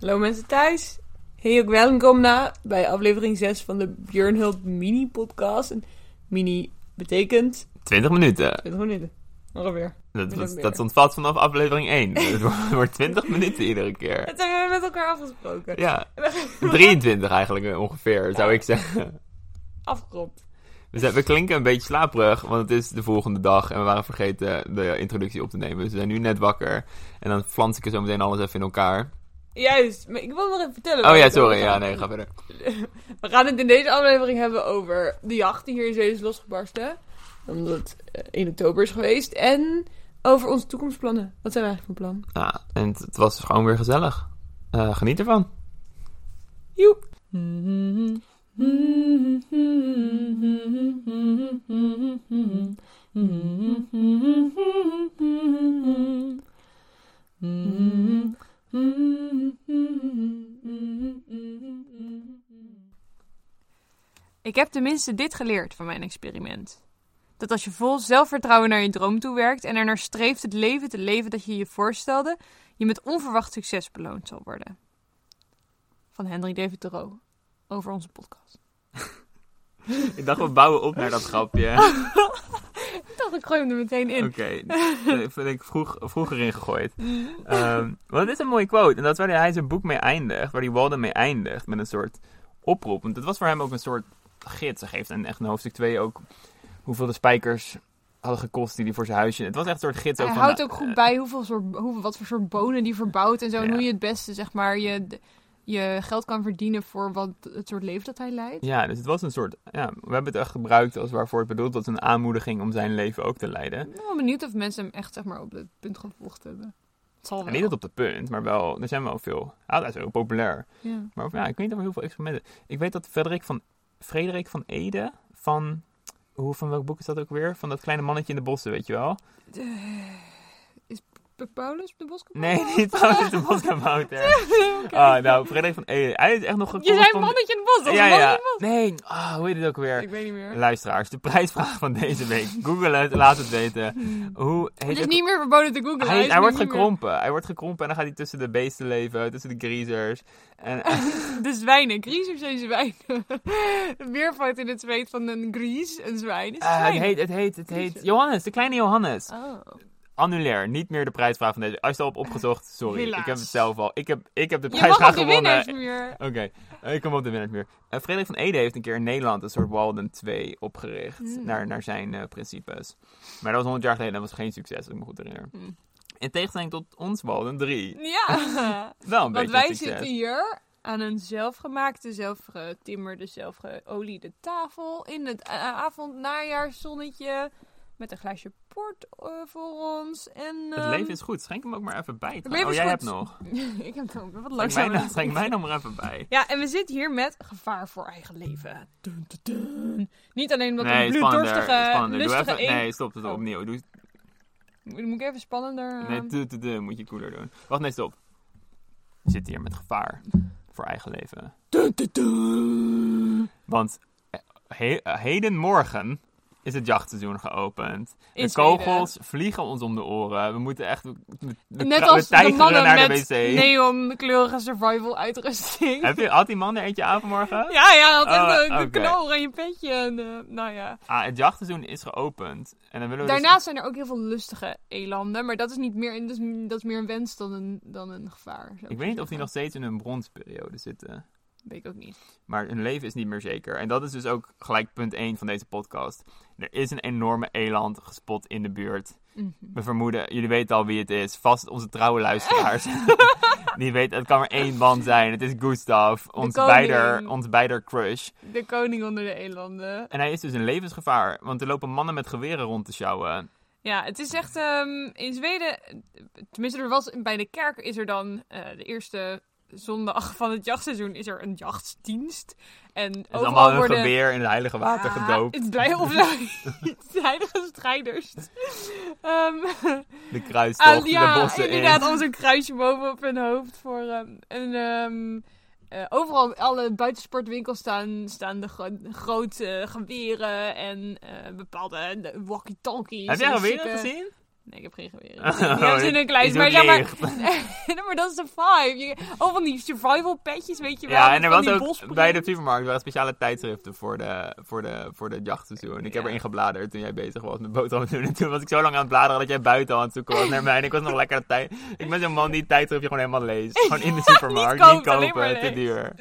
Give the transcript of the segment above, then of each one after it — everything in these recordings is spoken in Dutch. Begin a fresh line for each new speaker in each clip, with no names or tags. Hallo mensen thuis. Heel welkom na bij aflevering 6 van de Björnhult mini podcast. En mini betekent nou,
20 minuten.
20 minuten. Ongeveer.
Dat,
Min of
dat,
meer.
dat ontvalt vanaf aflevering 1. Het wo- wordt 20 minuten iedere keer.
Dat hebben we met elkaar afgesproken.
Ja, 23 eigenlijk eh, ongeveer, zou ik zeggen.
Afgeklopt.
We, zijn, we klinken een beetje slaperig, want het is de volgende dag en we waren vergeten de introductie op te nemen. Dus we zijn nu net wakker en dan flans ik er zo meteen alles even in elkaar.
Juist. Maar ik wil nog even vertellen.
Oh
waar
ja,
het over
sorry. Ja,
gaat.
nee, ga verder.
We gaan het in deze aflevering hebben over de jacht die hier in Zee is losgebarsten. Omdat het eh, 1 oktober is geweest. En over onze toekomstplannen. Wat zijn we eigenlijk van plan?
Ja, Ah, en het, het was gewoon weer gezellig. Eh, geniet ervan.
Joep.
Ik heb tenminste dit geleerd van mijn experiment. Dat als je vol zelfvertrouwen naar je droom toe werkt en ernaar streeft het leven te leven dat je je voorstelde, je met onverwacht succes beloond zal worden. Van Henry David Thoreau over onze podcast.
Ik dacht, we bouwen op naar dat grapje.
Ik dacht, ik gooi hem er meteen in.
Oké, dat vind ik vroeg, vroeger ingegooid. Ehm, want het is een mooie quote. En dat is waar hij zijn boek mee eindigt. Waar die Walden mee eindigt. Met een soort oproep. Want het was voor hem ook een soort gids. Hij geeft in echt een hoofdstuk 2 ook hoeveel de spijkers hadden gekost die hij voor zijn huisje... Het was echt een soort gids. ook
Hij
van,
houdt
nou,
ook goed bij hoeveel soort, hoe, wat voor soort bonen die verbouwt en zo. En
Ja.
hoe je het beste, zeg maar, je, je geld kan verdienen voor wat, het soort leven dat hij leidt.
Ja, dus het was een soort... Ja, we hebben het echt gebruikt als waarvoor het bedoeld was. Een aanmoediging om zijn leven ook te leiden.
Ik ben wel benieuwd of mensen hem echt, zeg maar, op het punt gevolgd hebben. Het zal
En
wel.
niet tot op de punt, maar wel... Er zijn wel veel... Ah, dat is heel populair.
Ja.
Maar ja, ik weet niet of er heel veel experimenten. Ik weet dat Frederik van, Frederik van Ede van. Hoe, van welk boek is dat ook weer? Van dat kleine mannetje in de bossen, weet je wel?
P- Paulus de Boskoop?
Nee, niet trouwens de boskabouter. Ah, nou, Frederik van Ede. Hij is echt nog een
Je zei
correspondent-
mannetje in het bos, dat is
Ja,
een mannetje in
ja.
het bos.
Nee, ah, hoe heet het ook weer?
Ik weet niet meer.
Luisteraars, de prijsvraag van deze week. Google het, laat het weten. Hoe heet
Het is
het-
niet meer verboden te googlen.
Hij,
is
hij
nu
wordt
niet meer-
gekrompen. Hij wordt gekrompen en dan gaat hij tussen de beesten leven, tussen de greasers. En,
De zwijnen. Griezers zijn zwijnen. De meervoud in het zweet van een gries. Een zwijn is een
Ah, het
zwijn.
heet, het heet, het heet. Johannes, de kleine Johannes.
Oh.
Annulair, niet meer de prijsvraag van deze. Als je het al op opgezocht, sorry.
Helaas.
Ik heb het zelf al. Ik heb, ik heb de
Je mag
prijsvraag
op de
gewonnen.
winnaars
Oké,
meer.
ik kom op de winnaars meer. Eh, Frederik van Ede heeft een keer in Nederland een soort Walden 2 opgericht.
Hmm.
Naar, naar zijn eh, principes. Maar dat was 100 jaar geleden en dat was geen succes, als ik me goed herinner.
Hmm.
In tegenstelling tot ons Walden 3.
Ja.
Wel een
Want
beetje
wij
een succes.
zitten hier aan een zelfgemaakte, zelfgetimmerde, zelfgeoliede tafel. In het eh, avond, najaarszonnetje. Met een glaasje port eh, voor ons. En,
Het
ehm,
leven is goed. Schenk hem ook maar even bij. trouwens.
leven
oh,
is
jij
goed.
hebt nog.
ik heb het ook wat
Schenk
langzamer.
mij, nou, schenk mij nou maar even bij.
Ja, en we zitten hier met gevaar voor eigen leven. Dun, dun, dun. Niet alleen omdat
nee,
een
spannender.
bloeddorstige,
spannender. Doe even,
lustige eend-
nee, stop. stop
Oh.
opnieuw. Doe,
Moet- Moet ik even spannender... eh,
Nee, de, de, de, moet je cooler doen. Wacht, nee, stop. We zitten hier met gevaar voor eigen leven.
dun, dun, dun.
Want eh, he- eh, hedenmorgen is het jachtseizoen geopend.
In
de
Zweden.
kogels vliegen ons om de oren. We moeten echt... We, we- we
Net
tra- we
als de
tijgeren
mannen
naar
met
de wc.
neonkleurige survival uitrusting.
Heb je, had die man er eentje aan vanmorgen?
Ja, ja, dat
Oh,
is een
oké.
knal knaloranje petje. En, eh, nou ja.
Ah, het jachtseizoen is geopend. En dan willen we dus-
Daarnaast zijn er ook heel veel lustige elanden. Maar dat is, niet meer, dat is, dat is meer een wens dan een, dan een gevaar. zou
Ik weet niet of die nog
zeggen.
steeds in hun bronsperiode zitten.
Weet ik ook niet.
Maar hun leven is niet meer zeker. En dat is dus ook gelijk punt 1 van deze podcast. Er is een enorme eland gespot in de buurt.
Mhm.
We vermoeden, jullie weten al wie het is. Vast onze trouwe luisteraars. Die weten, het kan maar één man zijn. Het is Gustav, ons
koning.
beider, ons beider crush.
De koning onder de elanden.
En hij is dus een levensgevaar, want er lopen mannen met geweren rond te sjouwen.
Ja, het is echt ehm, in Zweden. Tenminste, er was, bij de kerk is er dan eh, de eerste zondag van het jachtseizoen is er een jachtsdienst. En
Het is
overal
allemaal hun
worden, Ah.
geweer in het heilige water
Ja,
gedoopt.
Het blijven of het heilige strijders. Ehm,
De kruistocht,
ah, ja,
de bossen
inderdaad,
in.
ons een kruisje boven op hun hoofd. Voor, ehm, en, ehm, eh, overal, alle buitensportwinkels staan, staan de gro- grote geweren en eh, bepaalde walkie-talkies.
Heb jij
en
geweren
zieke-
gezien?
Nee, ik eh, heb geen geweren.
Oh,
Die hebben ze in hun kluis.
die
Maar
doet
zeg maar...
licht.
Nee, maar dat is de vibe. Je- Oh, van die survival petjes, weet je wel.
Ja, en er
van
was
die
ook
bosprint.
bij de supermarkt waren speciale tijdschriften voor de, voor de, voor de jachtseizoen. Ik heb
Ja.
erin gebladerd toen jij bezig was met boterhammen doen. En toen was ik zo lang aan het bladeren dat jij buiten aan het zoeken was naar mij. En ik was nog lekker aan tijd. Ik ben zo'n man die tijdschriftje gewoon helemaal leest. Gewoon in de supermarkt.
Niet
niet,
kopen, alleen maar
kopen, te
lezen.
duur.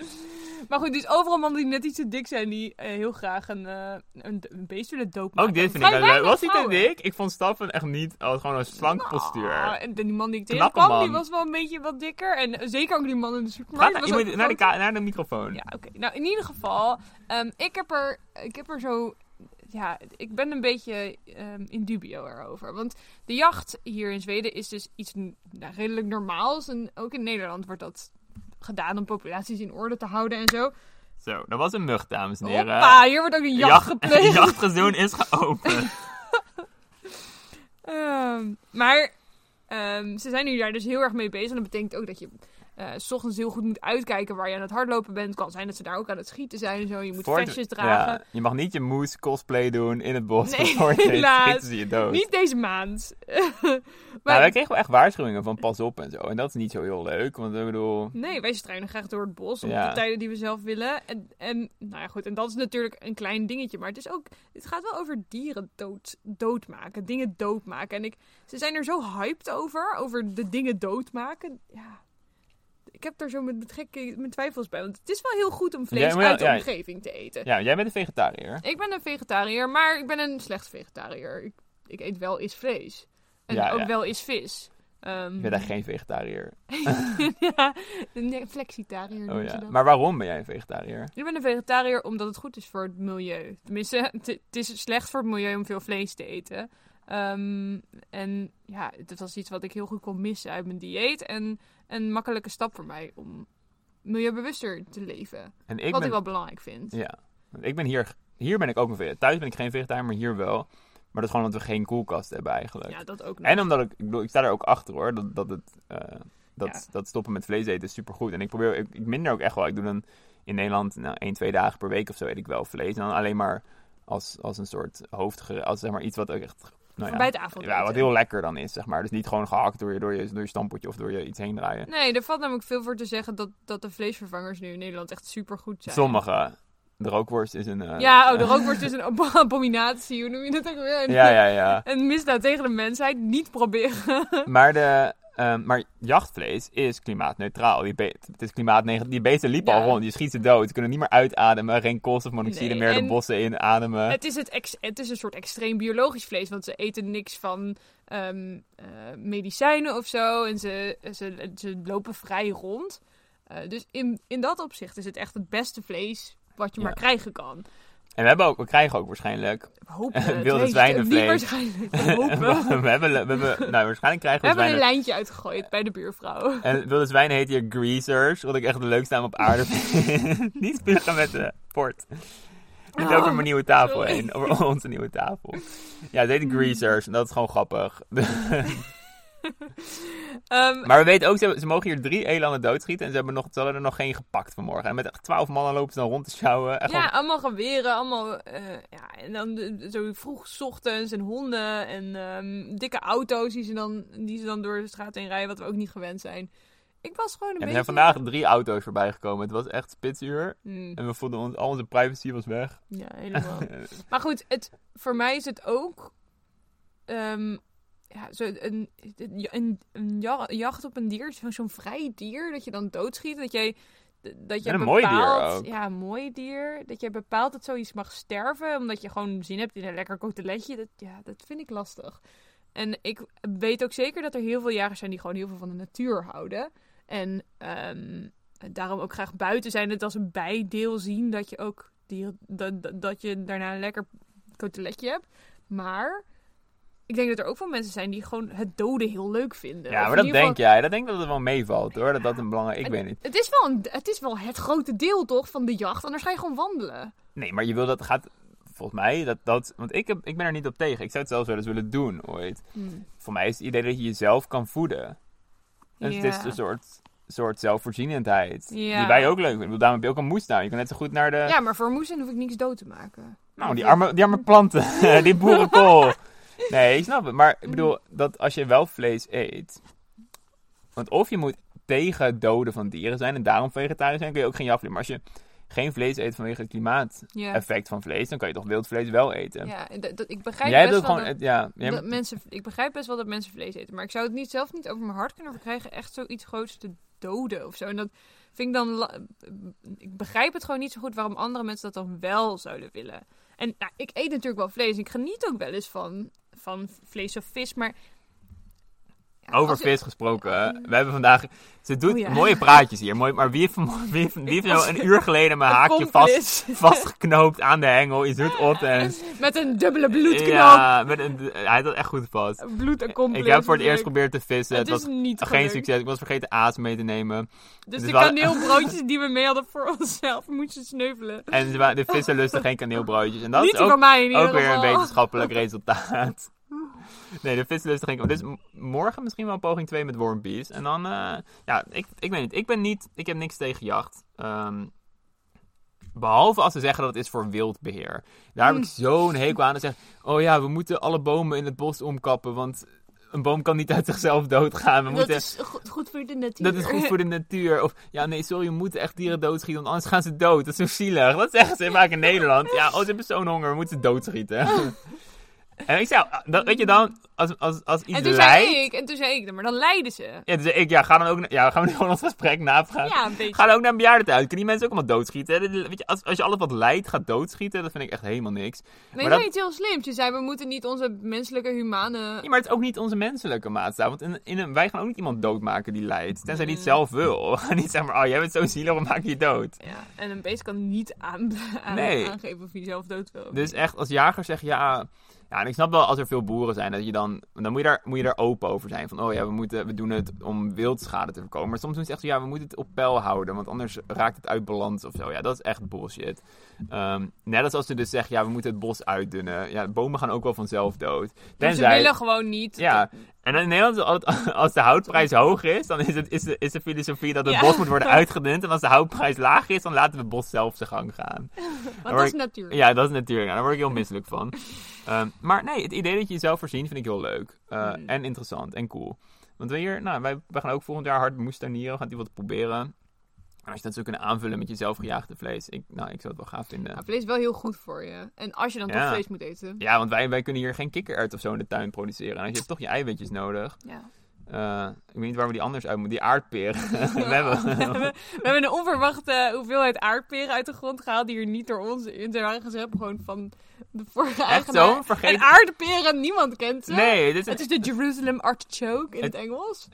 Maar goed, dus overal mannen die net iets te dik zijn, die eh, heel graag een, eh een, d- een beest willen dood maken.
Ook dit vind ik
Vrij
wel leuk.
weinig
Was hij te
vrouwen.
dik? Ik vond Staffen echt niet. Hij had gewoon een slank postuur.
Ah, en die man die ik
Knappe
tegenkwam, die
man.
was wel een beetje wat dikker. En eh, zeker ook die man in de supermarkt.
Ga naar,
was
je
ook
moet naar, de
groot.
ka- naar de microfoon.
Ja, oké. Nou, in ieder geval, ehm, ik, heb er, ik heb er zo... Ja, ik ben een beetje ehm, in dubio erover. Want de jacht hier in Zweden is dus iets n- nou, redelijk normaals. En ook in Nederland wordt dat gedaan om populaties in orde te houden en zo.
Zo, dat was een mug, dames en heren.
Hoppa, hier wordt ook een jacht,
Het
gepleegd.
jachtgezoen is geopend.
Ehm, maar ehm, ze zijn nu daar dus heel erg mee bezig. En dat betekent ook dat je eh, s ochtends heel goed moet uitkijken waar je aan het hardlopen bent. Het kan zijn dat ze daar ook aan het schieten zijn en zo. Je moet
Voor het-
vestjes dragen.
Ja, je mag niet je moes cosplay doen in het bos.
Nee,
voor je
helaas.
schieten ze je dood.
Niet deze maand.
Maar
maar,
wij kregen wel echt waarschuwingen van pas op en zo. En dat is niet zo heel leuk, want ik bedoel...
Nee, wij struinen graag door het bos op
Ja.
de tijden die we zelf willen. En, en nou ja, goed. En dat is natuurlijk een klein dingetje. Maar het is ook. Het gaat wel over dieren dood, doodmaken. Dingen doodmaken. En ik, ze zijn er zo hyped over. Over de dingen doodmaken. Ja. Ik heb daar zo met, met, gekke, met twijfels bij. Want het is wel heel goed om vlees
Ja, maar ja,
uit de
ja.
omgeving te eten.
Ja, jij bent een vegetariër.
Ik ben een vegetariër, maar ik ben een slecht vegetariër. Ik, ik eet wel eens vlees. En
Ja,
ook
ja.
wel eens vis. Ehm,
Ik ben echt geen vegetariër.
ja, een flexitariër
Oh
noemen ze
ja.
Mm, dat.
Maar waarom ben jij een vegetariër?
Ik ben een vegetariër omdat het goed is voor het milieu. Tenminste, het het is slecht voor het milieu om veel vlees te eten. Ehm, en ja, dat was iets wat ik heel goed kon missen uit mijn dieet. En een makkelijke stap voor mij om milieubewuster te leven.
En ik
wat
ben...
ik wel belangrijk vind.
Ja. Want ik ben hier... Hier ben ik ook een vegetariër. Thuis ben ik geen vegetariër, maar hier wel. Maar dat is gewoon omdat we geen koelkast hebben eigenlijk.
Ja, dat ook nog.
En nou omdat ik... Ik bedoel, ik sta er ook achter hoor. Dat, dat het... eh, dat,
Ja.
dat stoppen met vlees eten is supergoed. En ik probeer... Ik, ik minder ook echt wel. Ik doe dan in Nederland nou, één, twee dagen per week of zo eet ik wel vlees. En dan alleen maar als, als een soort hoofdgerecht. Als zeg maar iets wat ook echt... Nou
Voor
ja,
bij het avondeten.
Ja, wat heel lekker dan is, zeg maar. Dus niet gewoon gehakt door je, door je, door je stampotje of door je iets heen draaien.
Nee, er valt namelijk veel voor te zeggen dat, dat de vleesvervangers nu in Nederland echt supergoed zijn.
Sommige. De rookworst is een... eh,
Ja, oh, de
eh,
rookworst is een ab- abominatie. Hoe noem je dat ook weer? Een-
Ja, ja, ja.
Een misdaad tegen de mensheid. Niet proberen.
Maar, de, ehm, maar jachtvlees is klimaatneutraal. Die be- het is klimaatnegatief. Die beesten liepen
Ja.
al rond. Je schiet ze dood. Ze kunnen niet meer uitademen. Geen koolstofmonoxide
Nee,
meer
en-
de bossen in ademen.
Het is, het, ex- het is een soort extreem biologisch vlees, want ze eten niks van ehm, eh, medicijnen of zo. En ze, ze, ze lopen vrij rond. Eh, dus in, in dat opzicht is het echt het beste vlees wat je
Ja.
maar krijgen kan.
En we, hebben ook, we krijgen ook waarschijnlijk...
Hopen. het
Wilde
heet, eh,
zwijnenvlees.
Niet waarschijnlijk.
we
Hopen.
hebben, we hebben, nou, waarschijnlijk krijgen
We
we,
hebben een
zwijnen...
lijntje uitgegooid bij de buurvrouw.
En wilde zwijnen heet hier greasers. Wat ik echt de leukste naam op aarde vind. Niet spugen met de port. Niet over
Oh.
mijn nieuwe tafel
sorry.
heen. Over onze nieuwe tafel. Ja, het heet greasers. En dat is gewoon grappig.
Ehm,
Maar we weten ook, ze, hebben- ze mogen hier drie elanden doodschieten. En ze, hebben nog, ze hadden er nog geen gepakt vanmorgen. En met echt twaalf mannen lopen ze dan rond te sjouwen. En
Ja,
gewoon-
allemaal geweren, allemaal... eh, ja, en dan de- zo vroeg 's ochtends en honden en ehm, dikke auto's die ze, dan, die ze dan door de straat heen rijden, wat we ook niet gewend zijn. Ik was gewoon een
en er
beetje...
zijn vandaag drie auto's voorbij gekomen. Het was echt spitsuur.
Hmm,
En we voelden ons, al onze privacy was weg.
ja, helemaal. maar goed, het, voor mij is het ook... ehm, ja, zo een, een, een, een ja- jacht op een dier, zo- zo'n vrij dier, dat je dan doodschiet, dat jij... Dat je
En een mooi dier
bepaalt-
ook.
Ja, een mooi dier. Dat je bepaalt dat zoiets mag sterven. Omdat je gewoon zin hebt in een lekker koteletje. Dat, ja, dat vind ik lastig. En ik weet ook zeker dat er heel veel jagers zijn die gewoon heel veel van de natuur houden. En ehm, daarom ook graag buiten zijn. Het als een bijdeel zien dat je ook dieren, dat, dat, dat je daarna een lekker koteletje hebt. Maar ik denk dat er ook wel mensen zijn die gewoon het doden heel leuk vinden.
Ja,
Of
maar
in
dat
ieder geval-
denk jij. Dat denk ik dat het wel meevalt hoor. Dat dat een belangrijk... Ik weet niet.
Het is, wel een, het is wel het grote deel toch van de jacht. Anders ga je gewoon wandelen.
Nee, maar je wil dat gaat... Volgens mij, dat, dat, want ik, heb, ik ben er niet op tegen. Ik zou het zelfs wel eens willen doen ooit.
Hmm.
Voor mij is het idee dat je jezelf kan voeden. Dus het is
Ja.
een soort, soort zelfvoorzienendheid.
Ja.
Die wij ook leuk vinden. Ik bedoel, Daarom heb je ook een moestuin. Je kan net zo goed naar de...
Ja, maar voor moesten hoef ik niks dood te maken.
Nou, die arme, die arme planten. die boerenkool. Nee, ik snap het. Maar
Mm.
ik bedoel, dat als je wel vlees eet... Want of je moet tegen het doden van dieren zijn en daarom vegetarisch zijn, kun je ook geen jacht Maar als je geen vlees eet vanwege het klimaateffect
Ja,
van vlees, dan kan je toch wild vlees wel eten.
ja en dat- dat- ik
jij
begrijp
hebt
best
het
wel
gewoon...
dat-
het- ja, jij-
Dat mensen, ik begrijp best wel dat mensen vlees eten, maar ik zou het niet, zelf niet over mijn hart kunnen verkrijgen echt zoiets groots te doden of zo. En dat vind ik dan. la- Ik begrijp het gewoon niet zo goed waarom andere mensen dat dan wel zouden willen. En nou, ik eet natuurlijk wel vlees. Ik geniet ook wel eens van, van vlees of vis, maar. Ja,
Over
als-
vis gesproken.
Ja.
We hebben vandaag. Ze doet
Oh ja.
mooie praatjes hier. Mooi, maar wie heeft, van- wie heeft, wie heeft nou een uur geleden mijn haakje vast,
accomplice.
vastgeknoopt aan de hengel? Je doet op en.
Met een dubbele bloedknoop.
Ja, met een, hij had dat echt goed vast.
Bloed
Ik heb voor het eerst geprobeerd te vissen.
Het
Het,
is
was
niet
geen
gelukt.
succes. Ik was vergeten aas mee te nemen.
Dus,
Dus
de
we hadden-
kaneelbroodjes die we mee hadden voor onszelf moesten sneuvelen.
En ze wa- de vissen lusten geen kaneelbroodjes. En dat
niet
is
voor
ook,
mij in ieder
ook weer een
geval.
wetenschappelijk resultaat. Nee, de vissen lusten geen kaneelbroodjes. Dus m- morgen misschien wel poging 2 met wormpies. En dan, eh, ja, ik, ik weet niet. Ik ben niet, ik heb niks tegen jacht. Ehm, behalve als ze zeggen dat het is voor wildbeheer. Daar heb ik zo'n hekel aan. Dat zeggen, oh ja, we moeten alle bomen in het bos omkappen, want... Een boom kan niet uit zichzelf doodgaan. We
dat
moeten...
is goed, goed voor de natuur.
Dat is goed voor de natuur. Of ja, nee, sorry, we moeten echt dieren doodschieten, want anders gaan ze dood. Dat is zo zielig. Dat zeggen ze vaak in Nederland. Ja, oh, ze hebben zo'n honger, we moeten ze doodschieten. en ik zei, dat, weet je dan, als, als, als iets
En toen
leidt...
zei ik, en toen zei ik, maar dan leiden ze.
Ja, dus ik, ja, ga dan ook, na- ja, gaan we nu gewoon ons gesprek napraten.
Ja, een beetje.
Ga dan ook naar een bejaardentehuis. Kunnen die mensen ook allemaal doodschieten? Dit- dit- Weet je, als, als je alles wat leidt gaat doodschieten, dat vind ik echt helemaal niks.
Maar
maar
je
dat-
zei iets heel slims. Je zei, we moeten niet onze menselijke, humane...
Ja, maar het is ook niet onze menselijke maatstaf. Want in, in een, wij gaan ook niet iemand doodmaken die lijdt. Tenzij die het
Mm.
zelf wil. We gaan niet zeggen, maar, oh, jij bent zo zielig, we maken je dood.
Ja, en een beest kan niet aan, aan-
Nee.
aangeven of hij zelf dood wil.
Dus echt, als jager zeg je ja. Ja, en ik snap wel als er veel boeren zijn, dat je dan. Dan moet je daar, moet je daar open over zijn. Van oh ja, we, moeten, we doen het om wildschade te voorkomen. Maar soms doen ze echt zo ja, we moeten het op peil houden. Want anders raakt het uit balans of zo. Ja, dat is echt bullshit. Ehm, net als als ze dus zeggen ja, we moeten het bos uitdunnen. Ja, bomen gaan ook wel vanzelf dood.
Maar Dus ze
Tenzij.
willen gewoon niet.
Ja, en in Nederland is het altijd- als de houtprijs hoog is, dan is, het, is, de, is de filosofie dat het
Ja.
bos moet worden uitgedund. En als de houtprijs laag is, dan laten we het bos zelf zijn gang gaan.
Want dat is natuurlijk.
Ja, dat is natuurlijk. Nou, daar word ik heel misselijk van. Ehm, maar nee, het idee dat je jezelf voorzien vind ik heel leuk. Eh,
Mm.
En interessant en cool. Want we hier, nou, wij, wij gaan ook volgend jaar hard moestuinieren. We gaan die wat proberen. En als je dat zou kunnen aanvullen met je zelfgejaagde vlees. Ik, nou, ik zou het wel gaaf
Maar
vinden.
vlees is wel heel goed voor je. En als je dan
Ja.
toch vlees moet eten.
Ja, want wij, wij kunnen hier geen kikkererwt of zo in de tuin produceren. En als je hebt toch je eiwitjes nodig.
Ja.
Eh, ik weet niet waar we die anders uit moeten. Die aardperen. we
we,
hebben...
hebben, we hebben een onverwachte hoeveelheid aardperen uit de grond gehaald. Die hier niet door ons in zijn eigen gezet. Gewoon van de vorige
Echt
eigenaar.
zo? Vergeet...
En aardperen, niemand kent ze.
Nee, dit is,
Het is de Jerusalem artichoke in het, Engels.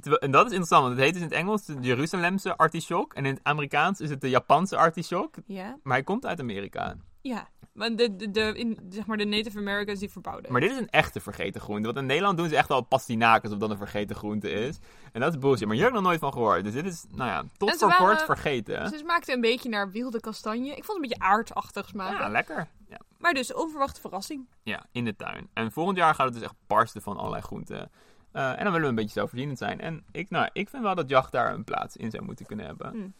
Terwijl- En dat is interessant, want het heet dus in het Engels de Jeruzalemse artichok. En in het Amerikaans is het de Japanse artichok.
Ja.
Maar hij komt uit Amerika.
Ja. Want de, de, de, in, zeg maar de Native Americans die verbouwden.
Maar dit is een echte vergeten groente. Want in Nederland doen ze echt al pastinaak alsof dat een vergeten groente is. En dat is bullshit. Maar hier heb ik nog nooit van gehoord. Dus dit is, nou ja, tot
En ze
voor
waren-
kort vergeten.
Dus Ze smaakte een beetje naar wilde kastanje. Ik vond het een beetje aardachtig smaken.
Ja, lekker. Ja.
Maar dus, onverwachte verrassing.
ja, in de tuin. En volgend jaar gaat het dus echt barsten van allerlei groenten. Eh, en dan willen we een beetje zelfvoorzienend zijn. En ik, nou, ik vind wel dat jacht daar een plaats in zou moeten kunnen hebben.
Hmm.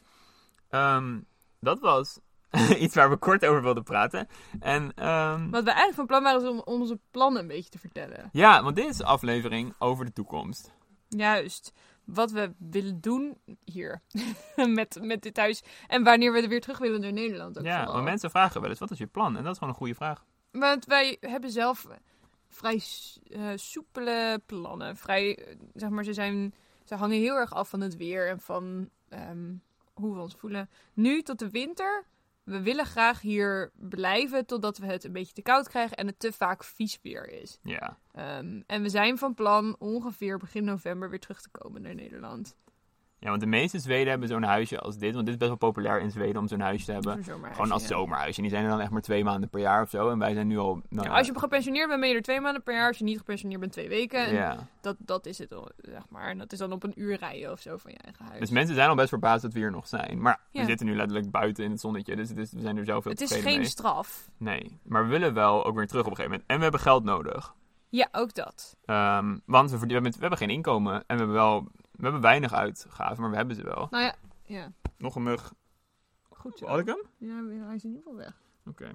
Ehm, dat was iets waar we kort over wilden praten. En ehm,
Wat we eigenlijk van plan waren is om, om onze plannen een beetje te vertellen.
ja, want dit is de aflevering over de toekomst.
Juist. Wat we willen doen hier. met, met dit huis. En wanneer we er weer terug willen naar Nederland. Ook
Ja,
vooral.
want mensen vragen wel eens, wat is je plan? En dat is gewoon een goede vraag.
Want wij hebben zelf vrij s- eh, soepele plannen. Vrij, eh, zeg maar, ze, zijn, ze hangen heel erg af van het weer en van ehm, hoe we ons voelen. Nu tot de winter. We willen graag hier blijven totdat we het een beetje te koud krijgen en het te vaak vies weer is.
Ja.
Ehm, en we zijn van plan ongeveer begin november weer terug te komen naar Nederland.
Ja, want de meeste Zweden hebben zo'n huisje als dit. Want dit is best wel populair in Zweden om zo'n huisje te hebben.
Zo'n zomerhuisje,
Gewoon als
ja.
zomerhuisje. En die zijn er dan echt maar twee maanden per jaar of zo. En wij zijn nu al... nou
Ja,
ja,
als je gepensioneerd bent, ben je er twee maanden per jaar. Als je niet gepensioneerd bent, twee weken. En
Ja.
dat, dat is het, al, zeg maar. En dat is dan op een uur rijden of zo van je eigen huis.
Dus mensen zijn al best verbaasd dat we hier nog zijn. Maar
Ja.
we zitten nu letterlijk buiten in het zonnetje. Dus, het is- we zijn er zelf heel
Het is
tevreden
geen
mee.
straf.
Nee, maar we willen wel ook weer terug op een gegeven moment. En we hebben geld nodig.
Ja, ook dat.
Ehm, want we, verdien- we, hebben, we hebben geen inkomen. En we hebben wel... We hebben weinig uitgaven, maar we hebben ze wel.
Nou ja, ja.
Nog een mug.
goed zo.
Had ik hem?
Ja, hij is in ieder geval weg.
Oké.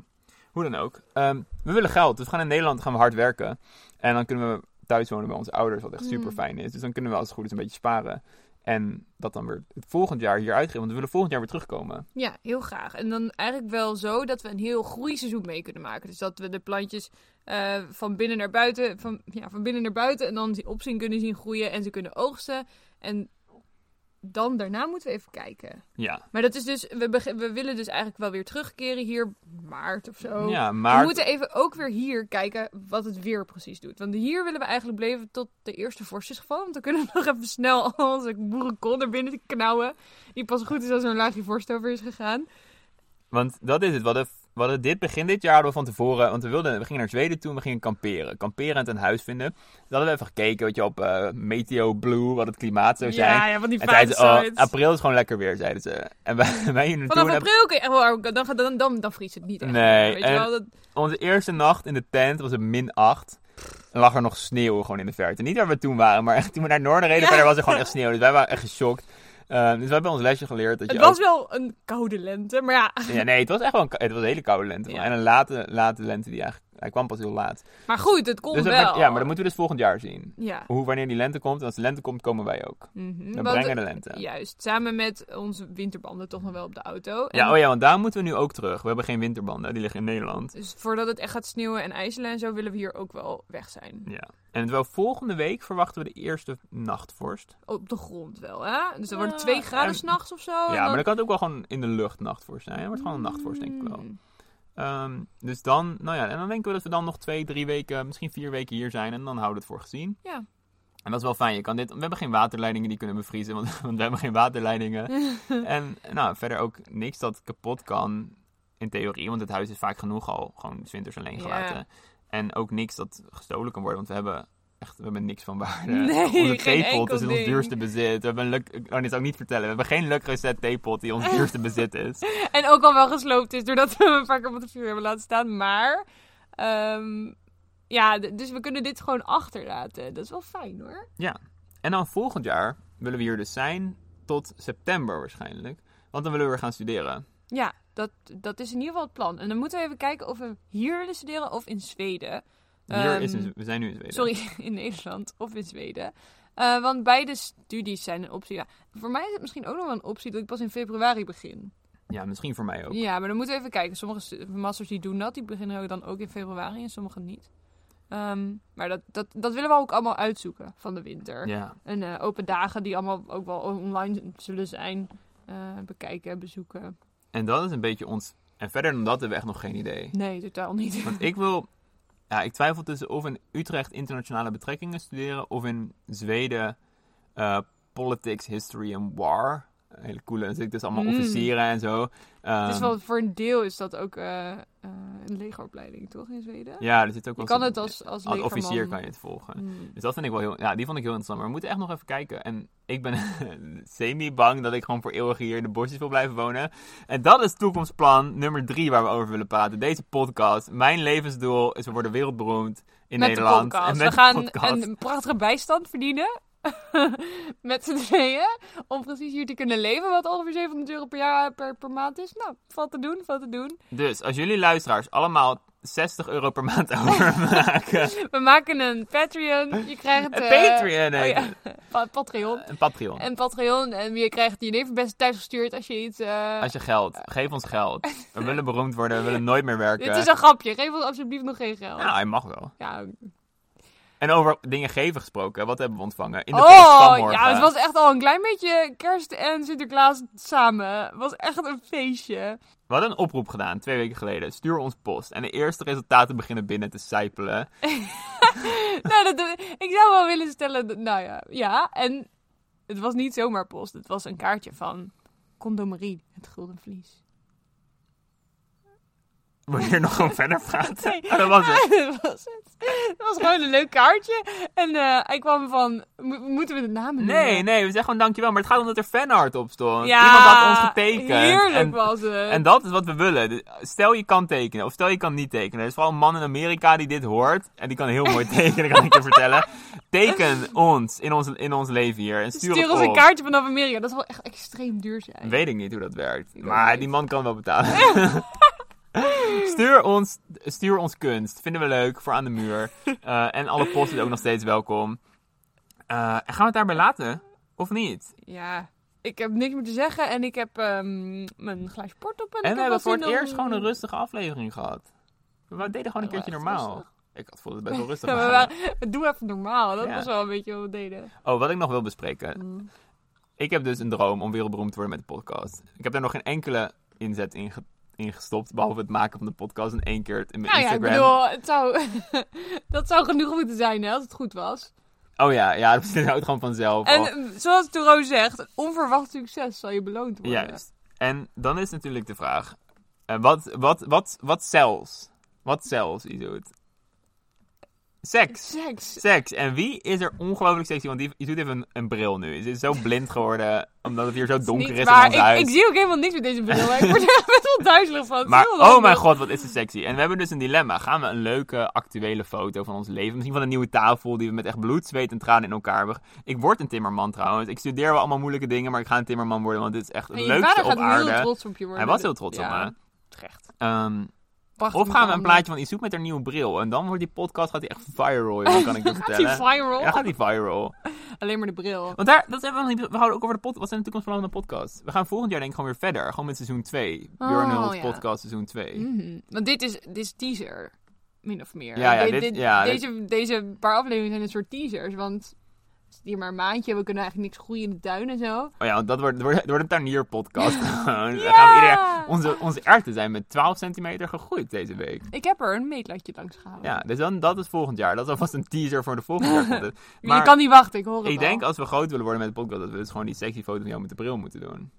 Hoe dan ook. Ehm, we willen geld, dus we gaan in Nederland gaan we hard werken. En dan kunnen we thuis wonen bij onze ouders, wat echt
Mm.
super fijn is. Dus dan kunnen we als het goed is een beetje sparen. En dat dan weer het volgend jaar hier uitgeven. Want we willen volgend jaar weer terugkomen.
Ja, heel graag. En dan eigenlijk wel zo dat we een heel groeiseizoen mee kunnen maken. Dus dat we de plantjes eh, van binnen naar buiten, van, ja, van binnen naar buiten en dan op zien kunnen zien groeien en ze kunnen oogsten. En dan daarna moeten we even kijken.
Ja,
Maar dat is dus, we, beg- we willen dus eigenlijk wel weer terugkeren hier maart of zo.
ja
Oh. We
maar
moeten even ook weer hier kijken wat het weer precies doet. Want hier willen we eigenlijk blijven tot de eerste vorst is gevallen. Want dan kunnen we nog even snel al onze boerenkool naar binnen knauwen. Die pas goed is als er een laagje vorst over is gegaan.
Want dat is het. We hadden, we hadden dit begin dit jaar hadden we van tevoren. Want we, wilden, we gingen naar Zweden toe en we gingen kamperen. Kamperen en een huis vinden. Dus hadden we even gekeken weet je, op eh, Meteo Blue, wat het klimaat zou zijn.
Ja, ja, van die
en zeiden
vader
ze, oh, april is gewoon lekker weer, zeiden ze. En wij, wij hier naartoe.
Vanaf
en
april kun je echt wel, dan, gaat- dan, dan, dan, vriest het niet echt.
Nee,
meer, weet
en-
je wel, dat,
Onze eerste nacht in de tent was het min 8. En lag er nog sneeuw gewoon in de verte. Niet waar we toen waren, maar echt toen we naar het noorden reden,
Ja.
verder was er gewoon echt sneeuw. Dus wij waren echt geschokt. Eh, dus we hebben ons lesje geleerd. Dat je
het
ook-
was wel een koude lente, maar ja.
Ja, nee, het was echt wel een, het was een hele koude lente.
Ja.
En een late, late lente die eigenlijk... Hij kwam pas heel laat.
Maar goed, het kon
Dus dat-
wel.
maar- ja, maar dat moeten we dus volgend jaar zien.
Ja.
Hoe, wanneer die lente komt. En als de lente komt, komen wij ook.
Mhm,
We
want-
brengen de lente. Ja.
Juist, samen met onze winterbanden toch nog wel op de auto. En-
oh ja, want daar moeten we nu ook terug. We hebben geen winterbanden, die liggen in Nederland.
Dus voordat het echt gaat sneeuwen en ijzelen en zo, willen we hier ook wel weg zijn.
Ja. En terwijl volgende week verwachten we de eerste nachtvorst.
Op de grond wel, hè? Dus dan wordt het
Ja,
twee graden
en-
s s'nachts of zo.
ja, maar dan kan het ook wel gewoon in de lucht nachtvorst zijn. Het wordt gewoon een nachtvorst, denk ik
Hmm.
wel. Ehm, dus dan, nou ja, en dan denken we dat we dan nog twee, drie weken, misschien vier weken hier zijn. En dan houden we het voor gezien.
Ja.
En dat is wel fijn. Je kan dit, we hebben geen waterleidingen die kunnen bevriezen, want, want we hebben geen waterleidingen. En nou, verder ook niks dat kapot kan in theorie, want het huis is vaak genoeg al gewoon 's winters alleen
Ja.
gelaten. En ook niks dat gestolen kan worden, want we hebben echt we hebben niks van waarde.
Nee,
Onze
geen
theepot
enkel
is ons
ding.
duurste bezit. We hebben een luk, oh, dit zou ik niet vertellen. We hebben geen leuk reset theepot die ons duurste bezit is.
En ook al wel gesloopt is doordat we hem een paar keer op de vuur hebben laten staan. Maar, ehm, ja, d- dus we kunnen dit gewoon achterlaten. Dat is wel fijn hoor.
En dan volgend jaar willen we hier dus zijn tot september waarschijnlijk, want dan willen we weer gaan studeren.
Ja, dat, dat is in ieder geval het plan. En dan moeten we even kijken of we hier willen studeren of in Zweden.
Hier
Ehm,
is in- we zijn nu in Zweden.
Sorry, in Nederland of in Zweden. Eh, want beide studies zijn een optie. Ja, voor mij is het misschien ook nog wel een optie dat ik pas in februari begin.
Ja, misschien voor mij ook.
Ja, maar dan moeten we even kijken. Sommige stu- masters die doen dat, die beginnen dan ook in februari en sommige niet. Ehm, maar dat, dat, dat willen we ook allemaal uitzoeken van de winter.
Ja.
En eh, open dagen die allemaal ook wel online zullen zijn. eh, bekijken, bezoeken.
En dat is een beetje ons. En verder dan dat hebben we echt nog geen idee.
Nee, totaal niet.
Want ik wil. Ja, ik twijfel tussen of in Utrecht internationale betrekkingen studeren of in Zweden eh, politics, history en war. Een Hele coole. Dan zit ik dus allemaal
Mm.
officieren en zo. Ehm,
dus wel, voor een deel is dat ook eh, eh, een legeropleiding, toch, in Zweden?
Ehm, Ja, er zit ook wel
Je kan
zo'n-
het als, als,
als
legerman-
officier kan je het volgen.
Mm.
Dus dat vind ik wel heel. Ja, die vond ik heel interessant. Maar we moeten echt nog even kijken. En ik ben semi-bang dat ik gewoon voor eeuwig hier in de bosjes wil blijven wonen. En dat is toekomstplan nummer drie waar we over willen praten. Deze podcast. Mijn levensdoel is: we worden wereldberoemd in
met
Nederland.
De podcast.
en met
we gaan
de podcast.
een prachtige bijstand verdienen. met z'n tweeën. Om precies hier te kunnen leven. Wat ongeveer 700 euro per jaar per, per maand is. Nou, valt te doen, valt te doen.
Dus als jullie luisteraars allemaal 60 euro per maand overmaken.
We maken een Patreon. Je krijgt...
Een
eh,
Patreon, nee.
oh ja, pa- Patreon.
Een Patreon.
En Patreon. En je krijgt je leven best thuis gestuurd als je iets... eh,
Als je geld, geef ons geld. We willen beroemd worden, we willen nooit meer werken.
Dit is een grapje. Geef ons alsjeblieft nog geen geld.
Nou, hij mag wel.
Ja.
En over dingen geven gesproken, wat hebben we ontvangen? In de post
Oh,
van morgen.
ja, het was echt al een klein beetje kerst en Sinterklaas samen. Het was echt een feestje.
We hadden een oproep gedaan twee weken geleden. Stuur ons post. En de eerste resultaten beginnen binnen te sijpelen.
nou, dat, dat- ik zou wel willen stellen, dat- nou ja, ja. En het was niet zomaar post, het was een kaartje van Condomerie, het Gulden Vlies.
Wil je hier nog gewoon verder praten?
Nee.
Oh, dat was het.
dat was het. Het was gewoon een leuk kaartje. En eh, hij kwam van, "Mo- moeten we de namen noemen?
Nee, nee, we zeggen gewoon dankjewel. Maar het gaat om dat er fanart op stond.
Ja,
Iemand had ons getekend.
Heerlijk
en,
was het.
en dat is wat we willen. Dus Stel je kan tekenen of stel je kan niet tekenen. Er is vooral een man in Amerika die dit hoort. En die kan heel mooi tekenen, kan ik je vertellen. Teken ons in ons, in ons leven hier. En stuur,
Stuur
het
ons
op.
een kaartje vanaf Amerika. Dat zal wel echt extreem duur zijn.
Weet ik niet hoe dat werkt.
Ik ook
maar
niet.
die man kan wel betalen. Stuur ons, stuur ons kunst. Vinden we leuk. Voor aan de muur. Eh, en alle post is ook nog steeds welkom. Eh, en gaan we het daarbij laten? Of niet?
Ja, ik heb niks meer te zeggen en ik heb ehm, mijn glaasje port op. En, ik
En
heb
we hebben
wel
voor het
zin om-
eerst gewoon een rustige aflevering gehad. We deden gewoon een
Ja,
keertje
echt
normaal.
rustig.
Ik had voelde het best wel rustig.
Ja, we
waren.
waren- Doe even normaal. Dat
Ja.
was wel een beetje wat we deden.
Oh, wat ik nog wil bespreken.
Mm.
Ik heb dus een droom om wereldberoemd te worden met de podcast. Ik heb daar nog geen enkele inzet in, ge- in gestopt. Behalve het maken van de podcast en één keer het in mijn
Nou ja, ik
Instagram.
bedoel, het zou, dat zou genoeg moeten zijn hè, als het goed was.
Oh ja, ja, dat houdt gewoon vanzelf.
En
al.
eh, zoals Toro zegt, onverwacht succes zal je beloond worden.
Juist. En dan is natuurlijk de vraag: eh, wat, wat, wat, wat zelfs? Wat zelfs, Izoet? Seks.
Seks.
Seks. En wie is er ongelooflijk sexy? Want die Izoet heeft een, een bril nu. Ze is zo blind geworden omdat het hier zo donker is,
Niet
in
waar.
ons huis.
Ik, ik zie ook helemaal niks met deze bril. hè. Ik word er best wel duizelig van. Het is
Maar
heel
oh
handig.
mijn god, wat is het sexy. En we hebben dus een dilemma. Gaan we een leuke, actuele foto van ons leven? Misschien van een nieuwe tafel die we met echt bloed, zweet en tranen in elkaar hebben. Ik word een timmerman trouwens. Ik studeer wel allemaal moeilijke dingen, maar ik ga een timmerman worden. Want dit is echt het
En je
leukste
vader
op
gaat heel
aarde.
trots op je worden.
Hij was heel trots op
Ja,
me.
Terecht.
Ehm,
Prachtig
of gaan we een
man.
plaatje van Isoep met haar nieuwe bril. En dan wordt die podcast gaat die echt viral, jongen, kan ik je
Gaat die
vertellen.
viral?
Ja, gaat die viral.
Alleen maar de bril.
Want daar, dat hebben we nog niet. We houden ook over de podcast. Wat zijn de toekomstplannen van de podcast? We gaan volgend jaar denk ik gewoon weer verder. Gewoon met seizoen 2.
Oh,
Björn Hulst
ja.
podcast seizoen 2.
Mhm. Want dit is, dit is teaser. Min of meer.
Ja, ja,
De-
dit- ja, dit-
deze, deze paar afleveringen zijn een soort teasers. Want het is hier maar een maandje. We kunnen eigenlijk niks groeien in de tuin en zo.
Oh ja, want dat wordt, dat wordt, dat wordt een tuinier-podcast. Gewoon,
Ja!
dan gaan we iedereen- onze, onze erwten zijn met 12 centimeter gegroeid deze week.
Ik heb er een meetlatje langs gehaald.
Ja, dus dan, dat is volgend jaar. Dat is alvast een teaser voor de volgende jaar. content.
je
Maar
kan niet wachten, ik hoor het
ik
al.
denk als we groot willen worden met de podcast, dat we dus gewoon die sexy foto van jou met de bril moeten doen.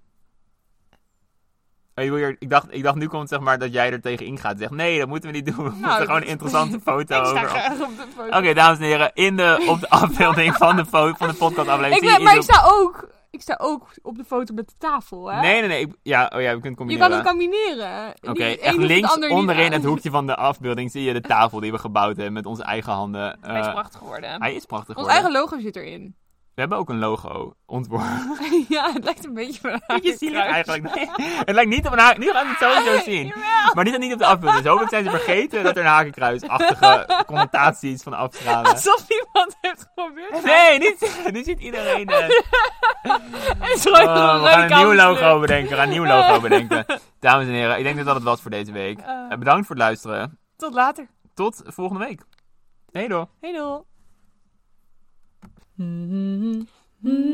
Oh, je wil hier- ik, dacht, ik dacht, nu komt zeg maar dat jij er tegen ingaat. en Zegt, nee, dat moeten we niet doen. We moeten gewoon een
Nou, dat-
interessante foto
Ik sta
over.
graag op de foto.
Oké, dames en heren, in de, op de afbeelding van de, fo- van de podcast
ik
aflevering.
ben- maar ik sta, ook, ik sta ook op de foto met de tafel, hè?
Nee, nee, nee. ik- ja, oh ja, we kunnen het
je
combineren.
kan het combineren.
Oké,
Niet het een
echt
hoeft het
links
ander niet
onderin
aan.
het hoekje van de afbeelding zie je de tafel die we gebouwd hebben met onze eigen handen.
Hij is
Eh,
prachtig geworden.
hij is prachtig
Ons
geworden.
eigen logo zit erin.
We hebben ook een logo ontworpen.
ja, het lijkt een beetje van een
Je ziet het
hakenkruis.
eigenlijk. Nee, het lijkt niet op een haak. Nu gaan we het sowieso zien.
Jawel.
Maar die staat niet op de afbeelding. Dus hopelijk zijn ze vergeten dat er een hakenkruisachtige connotatie is van afstralen.
Alsof iemand heeft geprobeerd.
Nee, niet, nu ziet iedereen het.
En zo heeft er
Oh,
een
we gaan
rode
een nieuw
kant
logo bedenken. We gaan een nieuw logo bedenken. Dames en heren, ik denk dat dat het was voor deze week.
Eh.
Eh, Bedankt voor het luisteren.
Tot later.
Tot volgende week. Hey door.
Hey doel.
Mm-hmm.